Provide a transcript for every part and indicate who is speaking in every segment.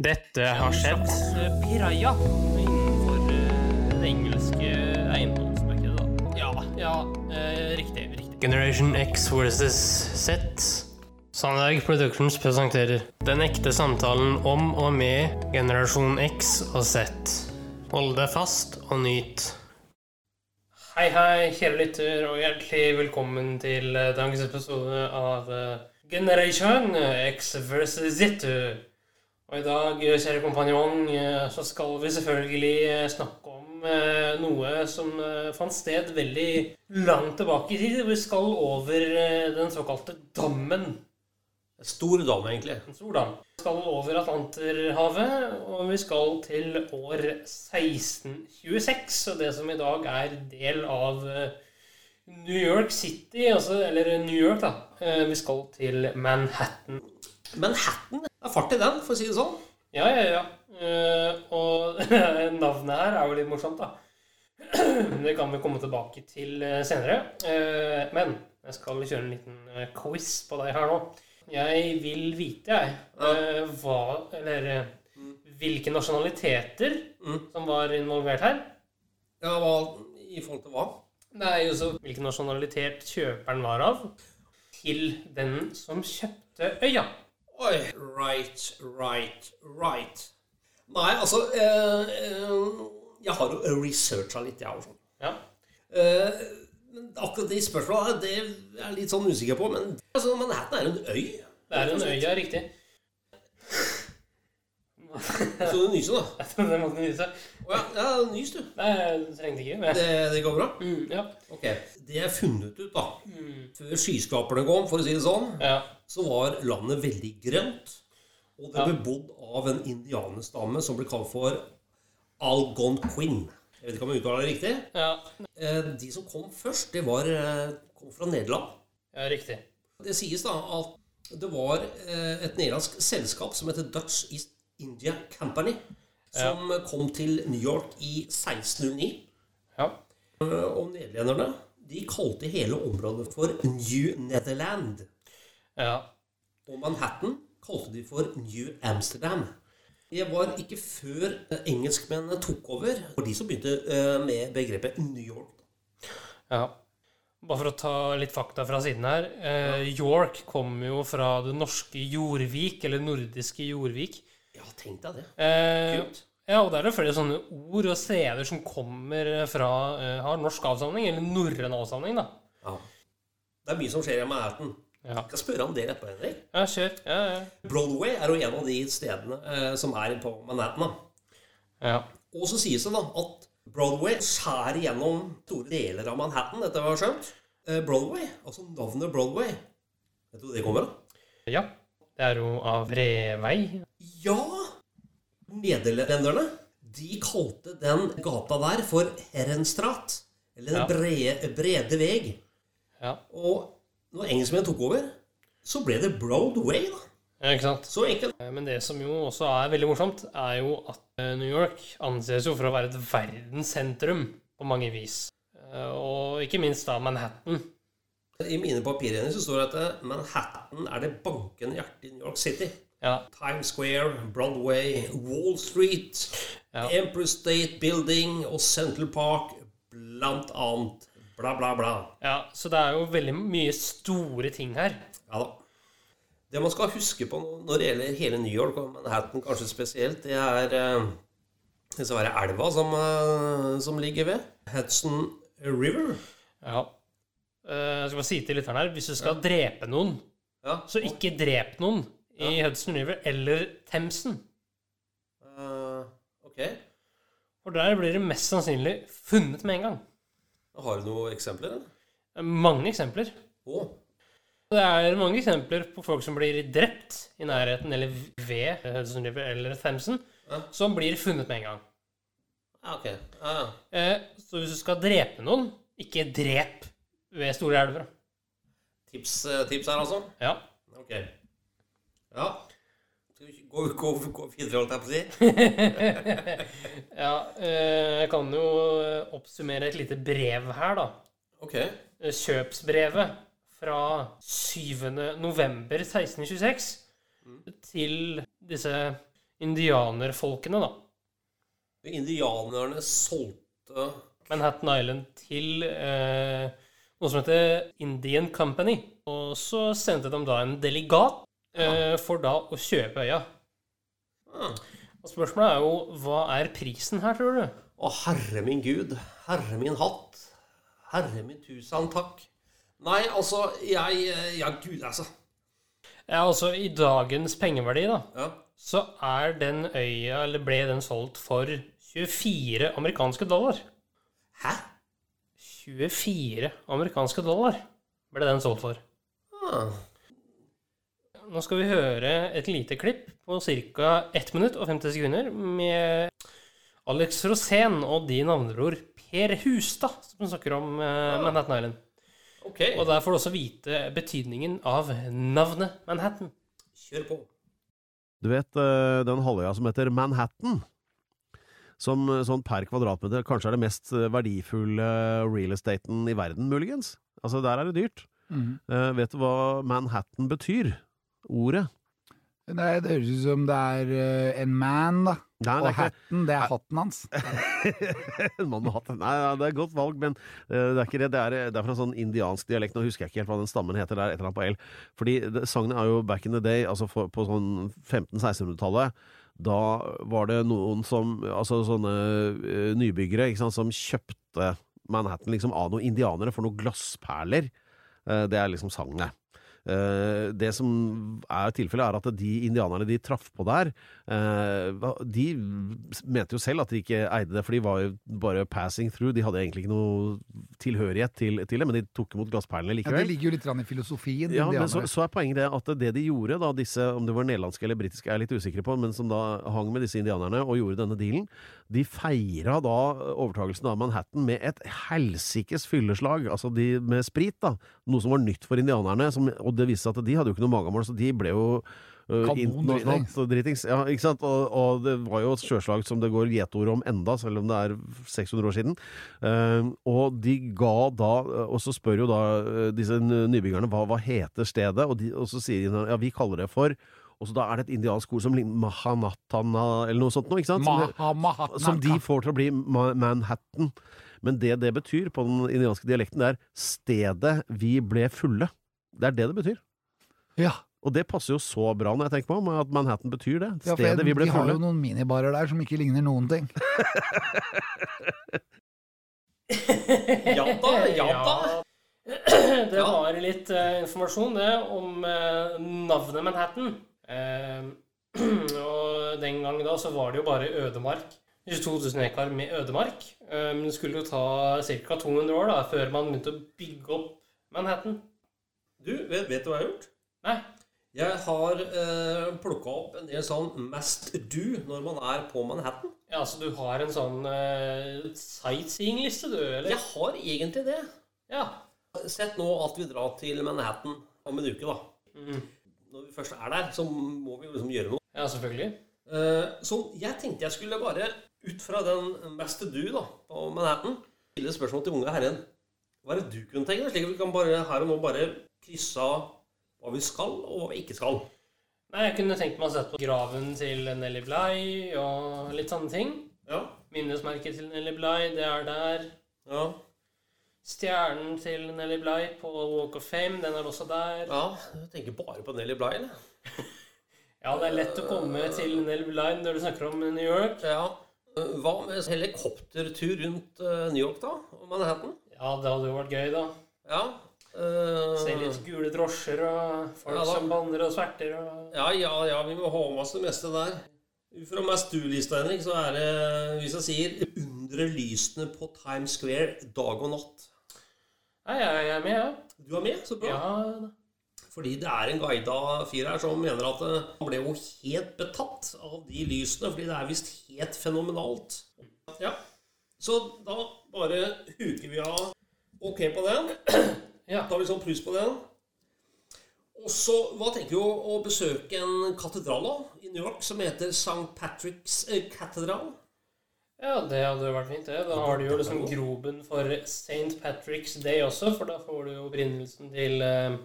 Speaker 1: Dette har skjedd.
Speaker 2: piraja innenfor eh, det engelske eiendomsmarkedet. da. Ja, ja, eh, riktig. riktig.
Speaker 1: Generation X versus Z. Sandberg Productions presenterer Den ekte samtalen om og med generasjon X og Z. Hold deg fast og nyt. Hei, hei, kjære lytter, og hjertelig velkommen til eh, dagens episode av eh, Generation X versus Z. Og i dag, eh, kjære kompanjong, eh, så skal vi selvfølgelig eh, snakke om eh, noe som eh, fant sted veldig langt tilbake i tid. Vi skal over eh, den såkalte dammen.
Speaker 2: Stor dame, egentlig.
Speaker 1: En stor dam. Vi skal over Atlanterhavet, og vi skal til år 1626. Og det som i dag er del av eh, New York City, altså, eller New York, da. Eh, Vi skal til Manhattan.
Speaker 2: Manhattan. Det er fart i den, for å si det sånn.
Speaker 1: Ja, ja, ja. Eh, og navnet her er jo litt morsomt, da. Det kan vi komme tilbake til eh, senere. Eh, men jeg skal kjøre en liten eh, quiz på deg her nå. Jeg vil vite, jeg, eh, hva Eller eh, hvilke nasjonaliteter
Speaker 2: Mm.
Speaker 1: som var involvert her.
Speaker 2: Ja, hva, I forhold til hva?
Speaker 1: Det er jo så hvilken nasjonalitet kjøperen var av, til den som kjøpte øya.
Speaker 2: Oi. Right, right, right. Nei, altså eh, eh, Jeg har jo researcha litt, jeg også.
Speaker 1: Ja.
Speaker 2: Eh, men akkurat de spørsmåla det er jeg litt sånn usikker på. Men altså, Manhattan er jo en øy.
Speaker 1: Det er en øy, ja, riktig.
Speaker 2: Så du nyser, da.
Speaker 1: Den måten å vise.
Speaker 2: Å ja, ja, nys, du.
Speaker 1: Nei, jeg trengte ikke. Men...
Speaker 2: Det, det går bra?
Speaker 1: Mm, ja.
Speaker 2: Ok, Det er funnet ut, da. Før skyskraperne kom, for å si det sånn,
Speaker 1: ja.
Speaker 2: så var landet veldig grønt. Og det
Speaker 1: Ja.
Speaker 2: ble bodd av en indianerstamme som ble kalt for Algonquin. Jeg vet ikke om jeg uttaler det riktig.
Speaker 1: Ja,
Speaker 2: Eh, De som kom først, det var, eh, kom fra Nederland.
Speaker 1: ja riktig.
Speaker 2: Det sies da at det var eh, et nederlandsk selskap som heter Dutch East India Company, som kom til New York i 1609.
Speaker 1: Ja.
Speaker 2: Eh, Og nederlenderne de kalte hele området for New Netherland.
Speaker 1: ja.
Speaker 2: Og Manhattan kalte de for New Amsterdam. Det var ikke før eh, engelskmennene tok over, for de som begynte eh, med begrepet New York.
Speaker 1: ja. Bare for å ta litt fakta fra siden her. Eh, York kommer jo fra det norske Jorvik, eller nordiske Jorvik.
Speaker 2: Ja, tenk deg det.
Speaker 1: Eh,
Speaker 2: Kult.
Speaker 1: ja, og der er det flere sånne ord og steder som kommer fra eh, har norsk avstamning, eller norrøn avstamning, da.
Speaker 2: Ja. Det er mye som skjer i Manhattan.
Speaker 1: Ja,
Speaker 2: Jeg skal spørre om det etterpå, Henrik.
Speaker 1: ja kjør. Ja, ja.
Speaker 2: Broadway er jo en av de stedene eh, som er på Manhattan. da.
Speaker 1: ja.
Speaker 2: Og så sies det da at Broadway skjærer gjennom store deler av Manhattan, etter hva jeg har skjønt. Eh, Broadway, altså navnet Broadway Vet du hvor det kommer av?
Speaker 1: ja. Det er jo av Revei.
Speaker 2: Ja! Nederlenderne de kalte den gata der for Herrenstrat. Eller
Speaker 1: Ja.
Speaker 2: Den brede, brede veg.
Speaker 1: Ja.
Speaker 2: Og når engelskmennene tok over, så ble det Broadway, da.
Speaker 1: Ja, ikke sant?
Speaker 2: Så enkelt.
Speaker 1: Eh, Men det som jo også er veldig morsomt, er jo at eh, New York anses jo for å være et verdenssentrum på mange vis. Eh, Og ikke minst da Manhattan.
Speaker 2: I mine papirer hennes så står det at eh, Manhattan er det bankende hjertet i New York City.
Speaker 1: Ja,
Speaker 2: Times Square, Broadway, Wall Street,
Speaker 1: Ja.
Speaker 2: Empire State Building og Central Park, blant annet. Bla, bla, bla.
Speaker 1: ja Så det er jo veldig mye store ting her.
Speaker 2: Ja da. Det man skal huske på nå- når det gjelder hele New York, og Manhattan kanskje spesielt, det er eh, den svære elva som, eh, som ligger ved. Hudson River.
Speaker 1: Ja. Eh, Jeg skal bare si til lytteren her hvis du skal drepe noen,
Speaker 2: Ja.
Speaker 1: så ikke drep noen i Hudson River eller Themsen.
Speaker 2: Eh, ok.
Speaker 1: For der blir det mest sannsynlig funnet med en gang.
Speaker 2: Har du noen eksempler? eller?
Speaker 1: Eh, Mange eksempler.
Speaker 2: Å,
Speaker 1: Det er mange eksempler på folk som blir drept i nærheten eller ved Hudson River eller Themsen,
Speaker 2: Ja.
Speaker 1: som blir funnet med en gang.
Speaker 2: ja, ok. Ja, ja.
Speaker 1: Eh, Så hvis du skal drepe noen, ikke drep ved store elver.
Speaker 2: Tips, eh, tips her, altså?
Speaker 1: Ja.
Speaker 2: Ok. Ja. Skal vi gå, gå, gå videre, holdt jeg på å si?
Speaker 1: ja eh, jeg kan jo eh, oppsummere et lite brev her, da.
Speaker 2: Ok.
Speaker 1: Eh, Kjøpsbrevet fra 7. november 1626 til disse indianerfolkene, da.
Speaker 2: Indianerne solgte
Speaker 1: Manhattan Island til eh, noe som heter Indian Company. Og så sendte de da en delegat eh, for da å kjøpe øya.
Speaker 2: ah.
Speaker 1: Og spørsmålet er jo hva er prisen her, tror du?
Speaker 2: Å, herre min gud. Herre min hatt. Herre min tusen takk. Nei, altså, jeg Ja, gud, altså.
Speaker 1: Ja, altså I dagens pengeverdi, da,
Speaker 2: Ja.
Speaker 1: så er den øya, eller ble den solgt for 24 amerikanske dollar.
Speaker 2: Hæ?
Speaker 1: 24 amerikanske dollar ble den solgt for.
Speaker 2: Ah.
Speaker 1: Nå skal vi høre et lite klipp på ca. 1 minutt og 50 sekunder med Alex Rosén og din navnebror Per Hustad, som snakker om eh, Manhattan Island.
Speaker 2: Ok,
Speaker 1: Og der får du også vite betydningen av navnet Manhattan.
Speaker 2: kjør på.
Speaker 3: Du vet eh, den halvøya som heter Manhattan? Som eh, sånn per kvadratmeter kanskje er det mest eh, verdifulle real estaten i verden, muligens. Altså, der er det dyrt.
Speaker 4: Mhm.
Speaker 3: Eh, vet du hva Manhattan betyr? Ordet?
Speaker 4: Nei, det høres ut som det er eh, en man, da.
Speaker 3: Nei,
Speaker 4: Og
Speaker 3: det er
Speaker 4: hatten, det er hatten hans.
Speaker 3: ikke en mann med hatt. Nei, nei, det er et godt valg, men eh, det er ikke det. Det er, det er fra en sånn indiansk dialekt. Nå husker jeg ikke helt hva den stammen heter. Det er et eller annet på L. Fordi det, sangen er jo back in the day, altså for, på sånn 1500-1600-tallet. Da var det noen som Altså sånne eh, nybyggere ikke sant, som kjøpte Manhattan liksom av noen indianere for noen glassperler. Eh, det er liksom sangen, det. Eh, det som er tilfellet, er at de indianerne de traff på der, eh, hva- de mente jo selv at de ikke eide det, for de var jo bare passing through. De hadde egentlig ikke noe tilhørighet til, til det, men de tok imot glassperlene
Speaker 4: Ja, det
Speaker 3: likevel.
Speaker 4: ligger jo litt grann i filosofien.
Speaker 3: Ja, men så,
Speaker 4: indianere.
Speaker 3: så er poenget det at det de gjorde, da, disse, om det var nederlandske eller britiske, er jeg litt usikre på, men som da hang med disse indianerne og gjorde denne dealen, de feira da overtagelsen av Manhattan med et helsikes fylleslag, altså de med sprit, da. Noe som var nytt for indianerne, som, og det viste seg at de hadde jo ikke noe magemål, så de ble jo øh,
Speaker 4: Kanon
Speaker 3: internasjonalt dritings. Ja, ikke sant? Og, og det var jo et sjøslag som det går gjetord om enda, selv om det er 600 år siden. Ehm, og de ga da Og så spør jo da eh, disse n- nybyggerne hva, hva heter stedet, og, de, og så sier de ja, vi kaller det for og så Da er det et indiansk ord som ligner Mahanatana eller noe sånt. Noe, ikke sant? sånn Som det-
Speaker 4: Maha, maha,
Speaker 3: som de
Speaker 4: naka.
Speaker 3: får til å bli Ma- Manhattan. Men det det betyr på den indianske dialekten, det er 'stedet vi ble fulle'. Det er det det betyr.
Speaker 4: Ja,
Speaker 3: Og det passer jo så bra når jeg tenker på meg, at Manhattan betyr det.
Speaker 4: ja, for
Speaker 3: Stedet vi ble
Speaker 4: de har jo
Speaker 3: fulle.
Speaker 4: noen minibarer der som ikke ligner noen ting.
Speaker 2: Ja da, ja da.
Speaker 1: Det
Speaker 2: Ja.
Speaker 1: var litt eh, informasjon det, om eh, navnet Manhattan. Eh, og den gang da så var det jo bare ødemark. 2000 hektar med ødemark. Eh, men det skulle jo ta ca. 200 år da, før man begynte å bygge opp Manhattan.
Speaker 2: Du, vet, vet du hva jeg har gjort?
Speaker 1: Nei,
Speaker 2: Jeg har eh, plukka opp en del sånn must do når man er på Manhattan.
Speaker 1: ja, altså du har en sånn eh, sightseeing-liste, du, eller?
Speaker 2: Jeg har egentlig det.
Speaker 1: Ja.
Speaker 2: Sett nå at vi drar til Manhattan om en uke, da. Når vi først er der, så må vi jo liksom gjøre noe.
Speaker 1: Ja, selvfølgelig.
Speaker 2: Eh, så jeg tenkte jeg skulle bare, ut fra den must do da, på Manhattan, stille et spørsmål til unge herren. Hva er det du kunne tenke deg? Slik at vi kan bare her og nå bare krysse av hva vi skal, og hva vi ikke skal.
Speaker 1: Nei, jeg kunne tenkt meg å sette på graven til Nelly Bly og litt sånne ting.
Speaker 2: Ja.
Speaker 1: Minnesmerket til Nelly Bly, det er der.
Speaker 2: Ja.
Speaker 1: Stjernen til Nelly Bly på Walk of Fame, den er også der.
Speaker 2: ja. Du tenker bare på Nelly Bly, eller?
Speaker 1: Ja, det er lett å komme til Nelly Bly når du snakker om New York.
Speaker 2: Ja. Eh, Hva med helikoptertur rundt eh, New York, da? Og Manhattan?
Speaker 1: Ja, det hadde jo vært gøy, da.
Speaker 2: Ja. Eh,
Speaker 1: Se litt gule drosjer og folk
Speaker 2: Ja, da.
Speaker 1: som banner og sverter og
Speaker 2: Ja, ja, ja, vi må ha med oss det meste der. Ut fra mest du-lista, Henrik, så er det, hvis jeg sier, undre lysene på Times Square dag og natt.
Speaker 1: Nei, jeg er med, jeg.
Speaker 2: Du er med, så
Speaker 1: Ja.
Speaker 2: bra.
Speaker 1: Ja,
Speaker 2: Fordi det er en guida fyr her som mener at eh, han ble jo helt betatt av de lysene, fordi det er visst helt fenomenalt. Ja. Så da bare huker vi av ok på den.
Speaker 1: Ja.
Speaker 2: Tar vi sånn pluss på den. Og så, hva tenker vi å- å besøke en katedral da, i New York som heter St. Patrick's eh, Katedral?
Speaker 1: ja, det hadde jo vært fint, det. Da har du jo liksom groben for St. Patrick's Day også, for da får du jo opprinnelsen til eh,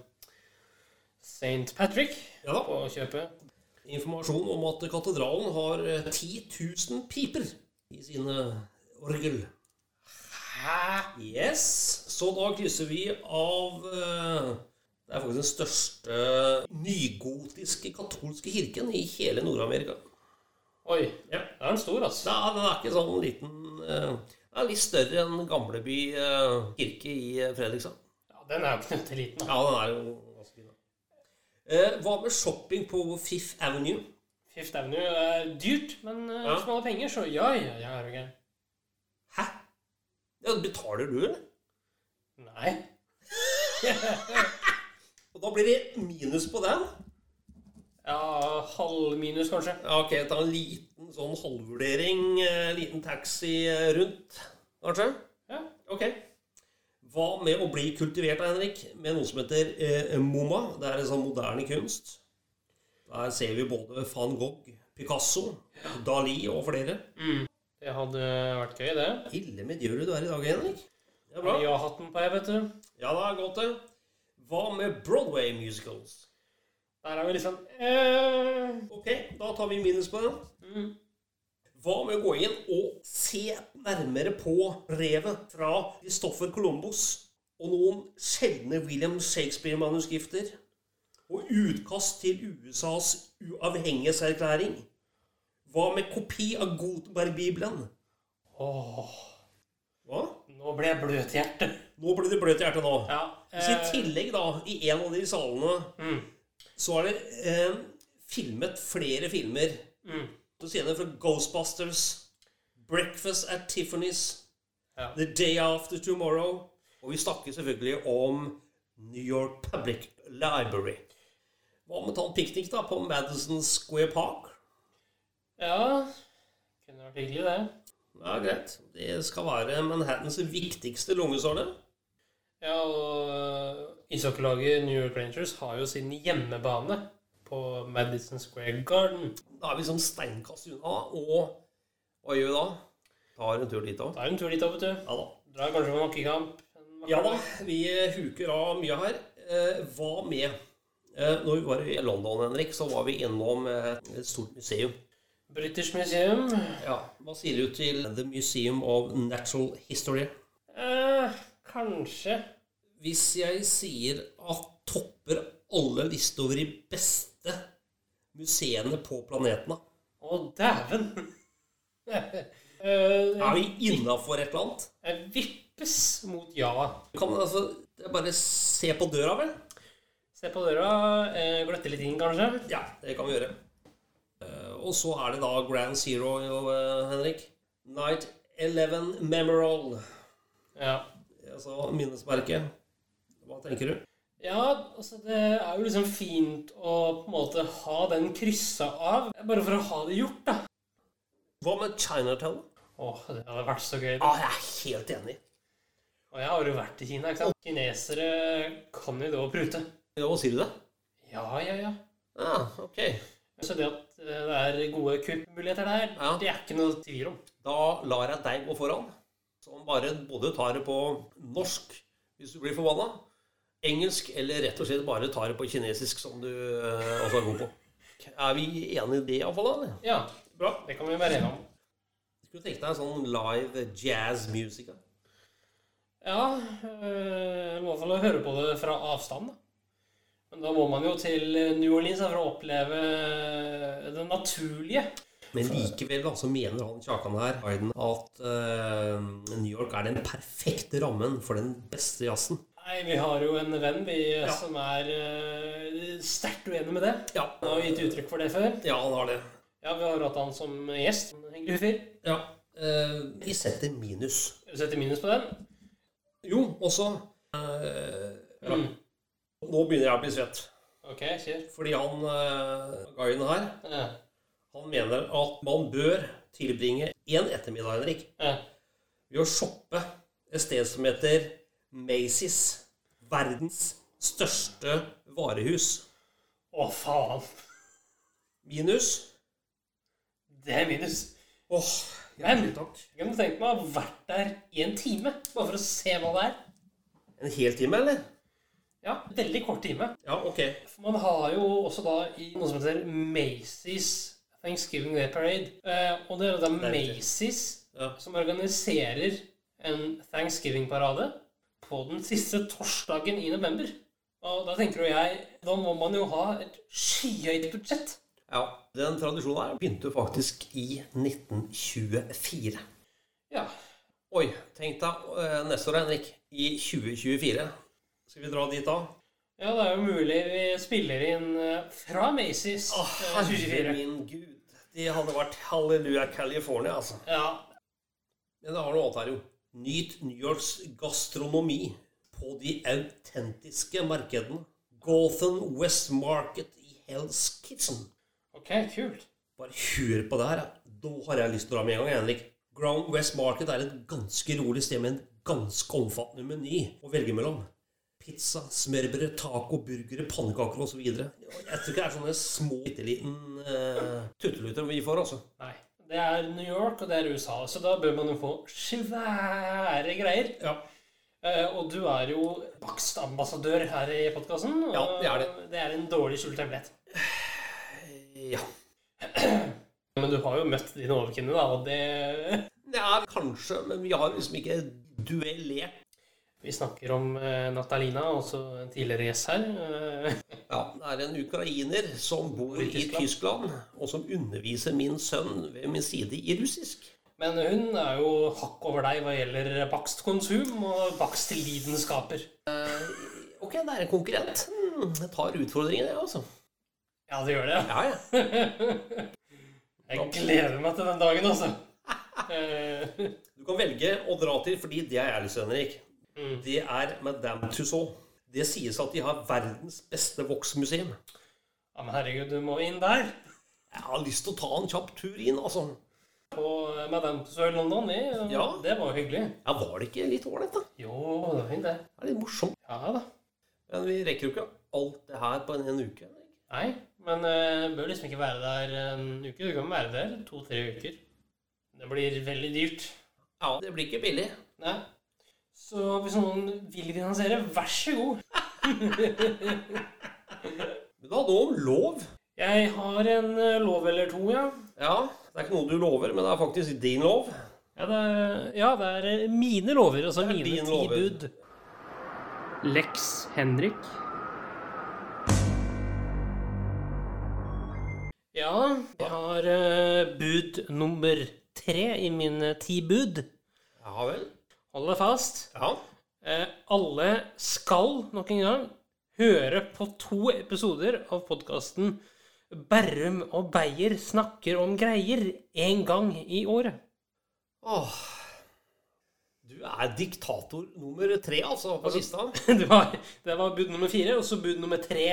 Speaker 1: St. Patrick
Speaker 2: Ja da.
Speaker 1: på kjøpet.
Speaker 2: Informasjon om at katedralen har eh, 10 000 piper i sine orgel. Hæ? Yes. Så da krysser vi av eh, Det er faktisk den største nygotiske katolske kirken i hele Nord-Amerika.
Speaker 1: Oi,
Speaker 2: Ja.
Speaker 1: det er en stor, altså.
Speaker 2: Ja, den er ikke sånn liten eh, Den er litt større enn Gamleby eh, kirke i eh, Fredrikstad.
Speaker 1: Ja, den er jo knøtteliten. da.
Speaker 2: Ja, den er jo ganske fin. da. Eh, hva med shopping på Fifth Avenue?
Speaker 1: Fifth Avenue er dyrt, men eh,
Speaker 2: Ja.
Speaker 1: hvis man har penger, så ja, ja, ja, er du gæren.
Speaker 2: Hæ? Ja, betaler du, eller?
Speaker 1: Nei.
Speaker 2: Og da blir det minus på den.
Speaker 1: Ja, halv minus, kanskje.
Speaker 2: Ja, ok, ta en liten sånn halvvurdering, eh, liten taxi eh, rundt, kanskje?
Speaker 1: Ja.
Speaker 2: Ok. Hva med å bli kultivert, da, Henrik, med noe som heter eh, MoMA? Det er en sånn moderne kunst. Der ser vi både van Gogh, Picasso, Dali og flere.
Speaker 1: Det hadde vært gøy, det.
Speaker 2: Ille med djøret du er i dag, Henrik. Det er bra.
Speaker 1: Ja-hatten på, jeg, vet du.
Speaker 2: Ja da, godt det. Hva med Broadway musicals?
Speaker 1: Der er vi liksom eh,
Speaker 2: Ok, da tar vi minus på den.
Speaker 1: mm.
Speaker 2: Hva med å gå inn og se nærmere på brevet fra Christoffer Columbus og noen sjeldne William Shakespeare-manuskrifter og utkast til USAs uavhengighetserklæring? Hva med kopi av Gutenberg-bibelen?
Speaker 1: Åh,
Speaker 2: Hva?
Speaker 1: nå ble jeg bløt i hjertet. Eh,
Speaker 2: Nå ble det bløt i hjertet nå.
Speaker 1: Ja.
Speaker 2: Hvis i tillegg, da, i en av de salene,
Speaker 1: Mm.
Speaker 2: så er det eh, filmet flere filmer.
Speaker 1: Mm.
Speaker 2: Du ser det fra Ghostbusters, Breakfast at Tiffany's,
Speaker 1: Ja.
Speaker 2: The Day After Tomorrow, og vi snakker selvfølgelig om New York Public Library. Hva med å ta en piknik da, på Madison Square Park?
Speaker 1: Ja, kunne vært hyggelig, det.
Speaker 2: Ja, greit. Det skal være Manhattans viktigste lungesåle.
Speaker 1: Ja, og eh, ishockeylaget New York Rangers har jo sin hjemmebane på Madison Square Garden.
Speaker 2: Da er vi som steinkast unna, og hva gjør vi da? Tar en tur dit òg.
Speaker 1: Da er det en tur dit, da, vet du.
Speaker 2: Ja da.
Speaker 1: Drar kanskje på makkekamp. en
Speaker 2: Ja da,
Speaker 1: makkekamp.
Speaker 2: vi huker av mye her. Eh, hva med eh, Når vi var i London, Henrik, så var vi innom eh, et stort museum.
Speaker 1: British Museum.
Speaker 2: Ja, Hva sier du til The Museum of Natural History?
Speaker 1: Eh, kanskje.
Speaker 2: Hvis jeg sier at topper alle lister over de beste museene på planeten, da.
Speaker 1: Å, dæven! eh,
Speaker 2: Er vi innafor et eller annet?
Speaker 1: jeg vippes mot ja.
Speaker 2: Kan man altså det er bare se på døra, vel?
Speaker 1: Se på døra. Eh, gløtte litt inn, kanskje.
Speaker 2: Ja, det kan vi gjøre. Eh, og så er det da Grand Zero, eh, Henrik. Night 11 Memorial.
Speaker 1: Ja.
Speaker 2: Altså minnesmerket. Hva tenker du?
Speaker 1: ja, altså det er jo liksom fint å på en måte ha den kryssa av. Bare for å ha det gjort, da.
Speaker 2: Hva med Chinatown?
Speaker 1: Åh, det hadde vært så gøy.
Speaker 2: Ah, jeg er helt enig.
Speaker 1: Og jeg har jo vært i Kina, ikke sant? Kinesere kan jo da prute.
Speaker 2: Ja, hva sier du det?
Speaker 1: Ja, ja, ja.
Speaker 2: Ja, ok.
Speaker 1: Så det at eh, det er gode kuppmuligheter der,
Speaker 2: Ja.
Speaker 1: det er ikke noe tvil om.
Speaker 2: Da lar jeg deg gå foran. Som bare både tar det på norsk hvis du blir forbanna, engelsk eller rett og slett bare tar det på kinesisk som du eh, også er god på. Er vi enige i det iallfall, da? eller?
Speaker 1: Ja,
Speaker 2: Bra.
Speaker 1: det kan vi være enige om.
Speaker 2: Skulle tenkt deg sånn live jazz music. da.
Speaker 1: Ja, øh, i hvert fall å høre på det fra avstand. da. Men da må man jo til New Orleans da, for å oppleve det naturlige.
Speaker 2: Men likevel da, så mener han Kjakan her Biden, at eh, New York er den perfekte rammen for den beste jazzen.
Speaker 1: Nei, vi har jo en venn vi, som er øh, sterkt uenig med det.
Speaker 2: Ja.
Speaker 1: Han har jo gitt uttrykk for det før.
Speaker 2: ja, han har det.
Speaker 1: Ja, vi har hatt han som gjest. En hyggelig fyr.
Speaker 2: Ja. Eh, vi setter minus.
Speaker 1: Vi setter minus på den.
Speaker 2: Jo, også eh, ja.
Speaker 1: Mm.
Speaker 2: Nå begynner jeg å bli svett.
Speaker 1: Ok, kjør.
Speaker 2: Fordi han eh, guiden her,
Speaker 1: Ja.
Speaker 2: han mener at man bør tilbringe én ettermiddag, Henrik,
Speaker 1: Ja.
Speaker 2: ved å shoppe et sted som heter Macy's. Verdens største varehus.
Speaker 1: Å, faen.
Speaker 2: Minus
Speaker 1: Det er minus.
Speaker 2: Åh,
Speaker 1: hjertelig
Speaker 2: takk.
Speaker 1: Jeg kunne tenkt meg å ha vært der i en time, bare for å se hva det er.
Speaker 2: En hel time, eller?
Speaker 1: Ja, veldig kort time.
Speaker 2: Ja, ok.
Speaker 1: For man har jo også da i noe som heter Macy's Thanksgiving Day Parade. Eh, og det er jo da
Speaker 2: Det er riktig.
Speaker 1: Macy's
Speaker 2: Ja.
Speaker 1: som organiserer en Thanksgiving-parade på den siste torsdagen i november. Og da tenker jo jeg Da må man jo ha et skyhøyt budsjett.
Speaker 2: ja. Den tradisjonen her begynte jo faktisk i 1924.
Speaker 1: Ja.
Speaker 2: Oi, tenk deg eh, neste år, Henrik. I 2024. Skal vi dra dit da?
Speaker 1: ja, det er jo mulig vi spiller inn eh, fra Macy's
Speaker 2: Å,
Speaker 1: eh,
Speaker 2: herre
Speaker 1: 2024.
Speaker 2: min gud. Det hadde vært halleluja California, altså.
Speaker 1: Ja.
Speaker 2: Men det har noe annet her, jo. Nyt New Yorks gastronomi på de autentiske markedene. Golthan West Market i Hell's Kitchen.
Speaker 1: Ok, kult.
Speaker 2: Bare hør på det her. ja. Da har jeg lyst til å dra med en gang, Henrik. Ground West Market er et ganske rolig sted med en ganske omfattende meny å velge mellom. Pizza, smørbrød, taco, burgere, pannekaker osv. Jeg tror ikke det er sånne små, bitte liten eh, tutteluter vi får, altså.
Speaker 1: Nei. Det er New York, og det er USA, så da bør man jo få svære greier.
Speaker 2: Ja.
Speaker 1: Eh, Og du er jo bakstambassadør her i podkasten.
Speaker 2: Ja, jeg er
Speaker 1: Det er en dårlig skjult hemmelighet.
Speaker 2: ja.
Speaker 1: Men du har jo møtt dine overkvinner, da, og det
Speaker 2: Ja, kanskje, men vi har liksom ikke duellert.
Speaker 1: Vi snakker om eh, Natalina, også en tidligere gjest her. Eh,
Speaker 2: Ja, Det er en ukrainer som bor i
Speaker 1: Tyskland.
Speaker 2: Tyskland, og som underviser min sønn ved min side i russisk.
Speaker 1: Men hun er jo hakk over deg hva gjelder bakstkonsum og bakstlidenskaper.
Speaker 2: Ok, det er en konkurrent. Hmm, Jeg tar utfordringen, jeg, altså.
Speaker 1: Ja, det gjør det.
Speaker 2: Ja, ja.
Speaker 1: Jeg gleder meg til den dagen, altså. Eh,
Speaker 2: Du kan velge å dra til, fordi det er jeg lyst til, Henrik. Det er Madame Tussauds. Det sies at de har verdens beste voksmuseum.
Speaker 1: Ja, men herregud, du må inn der.
Speaker 2: Jeg har lyst til å ta en kjapp tur inn, altså.
Speaker 1: På eh, Madame Tussauds i London. Det,
Speaker 2: Ja.
Speaker 1: det var jo hyggelig.
Speaker 2: Ja, var det ikke litt ålreit, da?
Speaker 1: Jo, det var fint, det.
Speaker 2: Det er litt morsomt.
Speaker 1: Ja da.
Speaker 2: Men vi rekker jo ikke alt det her på en, en uke. Henrik.
Speaker 1: Nei, men eh, bør liksom ikke være der en uke. Du kan være der to-tre uker. Det blir veldig dyrt.
Speaker 2: Ja, det blir ikke billig.
Speaker 1: Nei. Så hvis noen vil finansiere, vær så god.
Speaker 2: Men da noe om lov.
Speaker 1: Jeg har en eh, lov eller to, ja.
Speaker 2: Ja, det er ikke noe du lover, men det er faktisk din lov.
Speaker 1: Ja, det er, ja, det er eh, mine lover, altså mine
Speaker 2: din
Speaker 1: ti
Speaker 2: lover.
Speaker 1: bud. Lex Henrik. Ja, jeg har eh, bud nummer tre i mine ti bud.
Speaker 2: Ja vel.
Speaker 1: Hold deg fast.
Speaker 2: Ja.
Speaker 1: Eh, alle skal, nok en gang, høre på to episoder av podkasten Berrum og Beyer snakker om greier én gang i året.
Speaker 2: Åh. Du er diktator nummer tre, altså, på lista.
Speaker 1: Det var, det var bud nummer fire, og så bud nummer tre.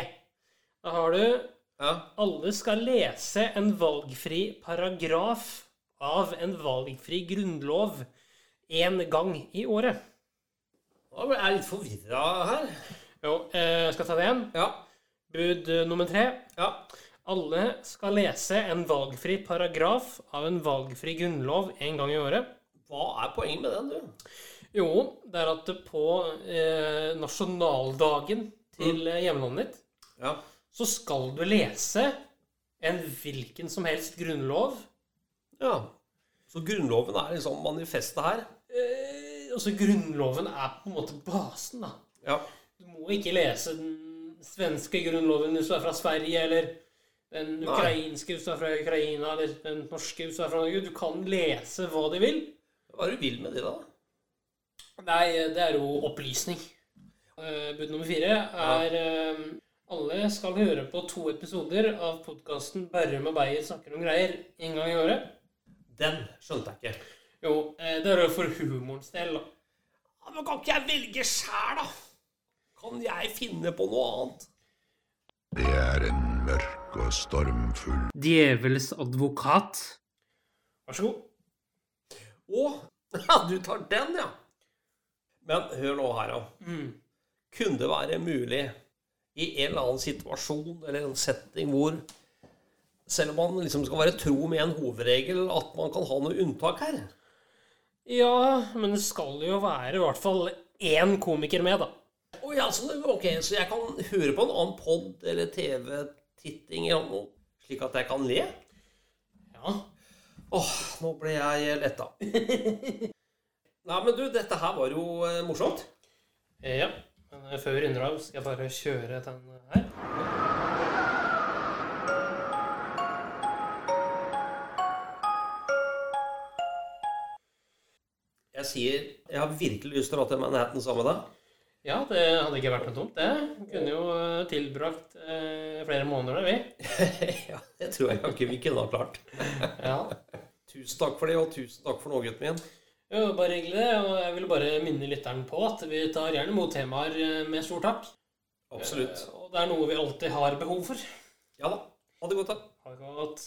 Speaker 1: Da har du
Speaker 2: Ja.
Speaker 1: Alle skal lese en valgfri paragraf av en valgfri grunnlov én gang i året.
Speaker 2: Da ble jeg litt forvirra her.
Speaker 1: Jo, eh, skal jeg ta det igjen.
Speaker 2: Ja.
Speaker 1: Bud eh, nummer tre.
Speaker 2: Ja.
Speaker 1: Alle skal lese en valgfri paragraf av en valgfri grunnlov én gang i året.
Speaker 2: Hva er poenget med den, du?
Speaker 1: Jo, det er at på eh, nasjonaldagen til
Speaker 2: Mm.
Speaker 1: eh, hjemlandet ditt
Speaker 2: Ja.
Speaker 1: så skal du lese en hvilken som helst grunnlov.
Speaker 2: ja. Så Grunnloven er liksom manifestet her?
Speaker 1: Eh, Altså, grunnloven er på en måte basen, da.
Speaker 2: Ja.
Speaker 1: Du må ikke lese den svenske grunnloven hvis du er fra Sverige, eller den ukrainske hvis du er fra Ukraina, eller den norske hvis du er fra Norge. Du kan lese hva de vil.
Speaker 2: Hva er det du vil med det, da?
Speaker 1: Nei, det er jo opplysning. Eh, Bud nummer fire er eh, Alle skal høre på to episoder av podkasten Berrum og Beyer snakker om greier en gang i året.
Speaker 2: Den skjønte jeg ikke.
Speaker 1: Jo, eh, det er jo for humorens del, da.
Speaker 2: Ja, men kan ikke jeg velge sjæl, da? Kan jeg finne på noe annet?
Speaker 5: Det er en mørk og stormfull
Speaker 1: Djevelens advokat. Vær så god.
Speaker 2: Å, ja, du tar den, ja. Mm. Men hør nå her, da. Kunne det være mulig i en eller annen situasjon eller en setting hvor selv om man liksom skal være tro med en hovedregel, at man kan ha noe unntak her?
Speaker 1: Ja, men det skal jo være i hvert fall én komiker med, da.
Speaker 2: Å ja, så, ok, så jeg kan høre på en annen pod eller TV-titting eller noe, slik at jeg kan le?
Speaker 1: Ja.
Speaker 2: Åh, nå ble jeg letta. Nei, men du, dette her var jo eh, morsomt.
Speaker 1: Eh, Ja. Men eh, før vi runder av, skal jeg bare kjøre den eh, her.
Speaker 2: Jeg sier jeg har virkelig lyst til å dra til Manhattan sammen med deg.
Speaker 1: Ja, det hadde ikke vært noe dumt, det. Kunne jo eh, tilbrakt eh, flere måneder der, vi.
Speaker 2: ja, det tror jeg ikke vi kunne ha klart.
Speaker 1: Ja.
Speaker 2: Tusen takk for det, og tusen takk for nå, gutten min.
Speaker 1: Jo, bare hyggelig. det, Og jeg vil bare minne lytteren på at vi tar gjerne imot temaer eh, med stor takk.
Speaker 2: Absolutt.
Speaker 1: Eh, Og det er noe vi alltid har behov for.
Speaker 2: Ja da. Ha det godt, da.
Speaker 1: Ha det godt.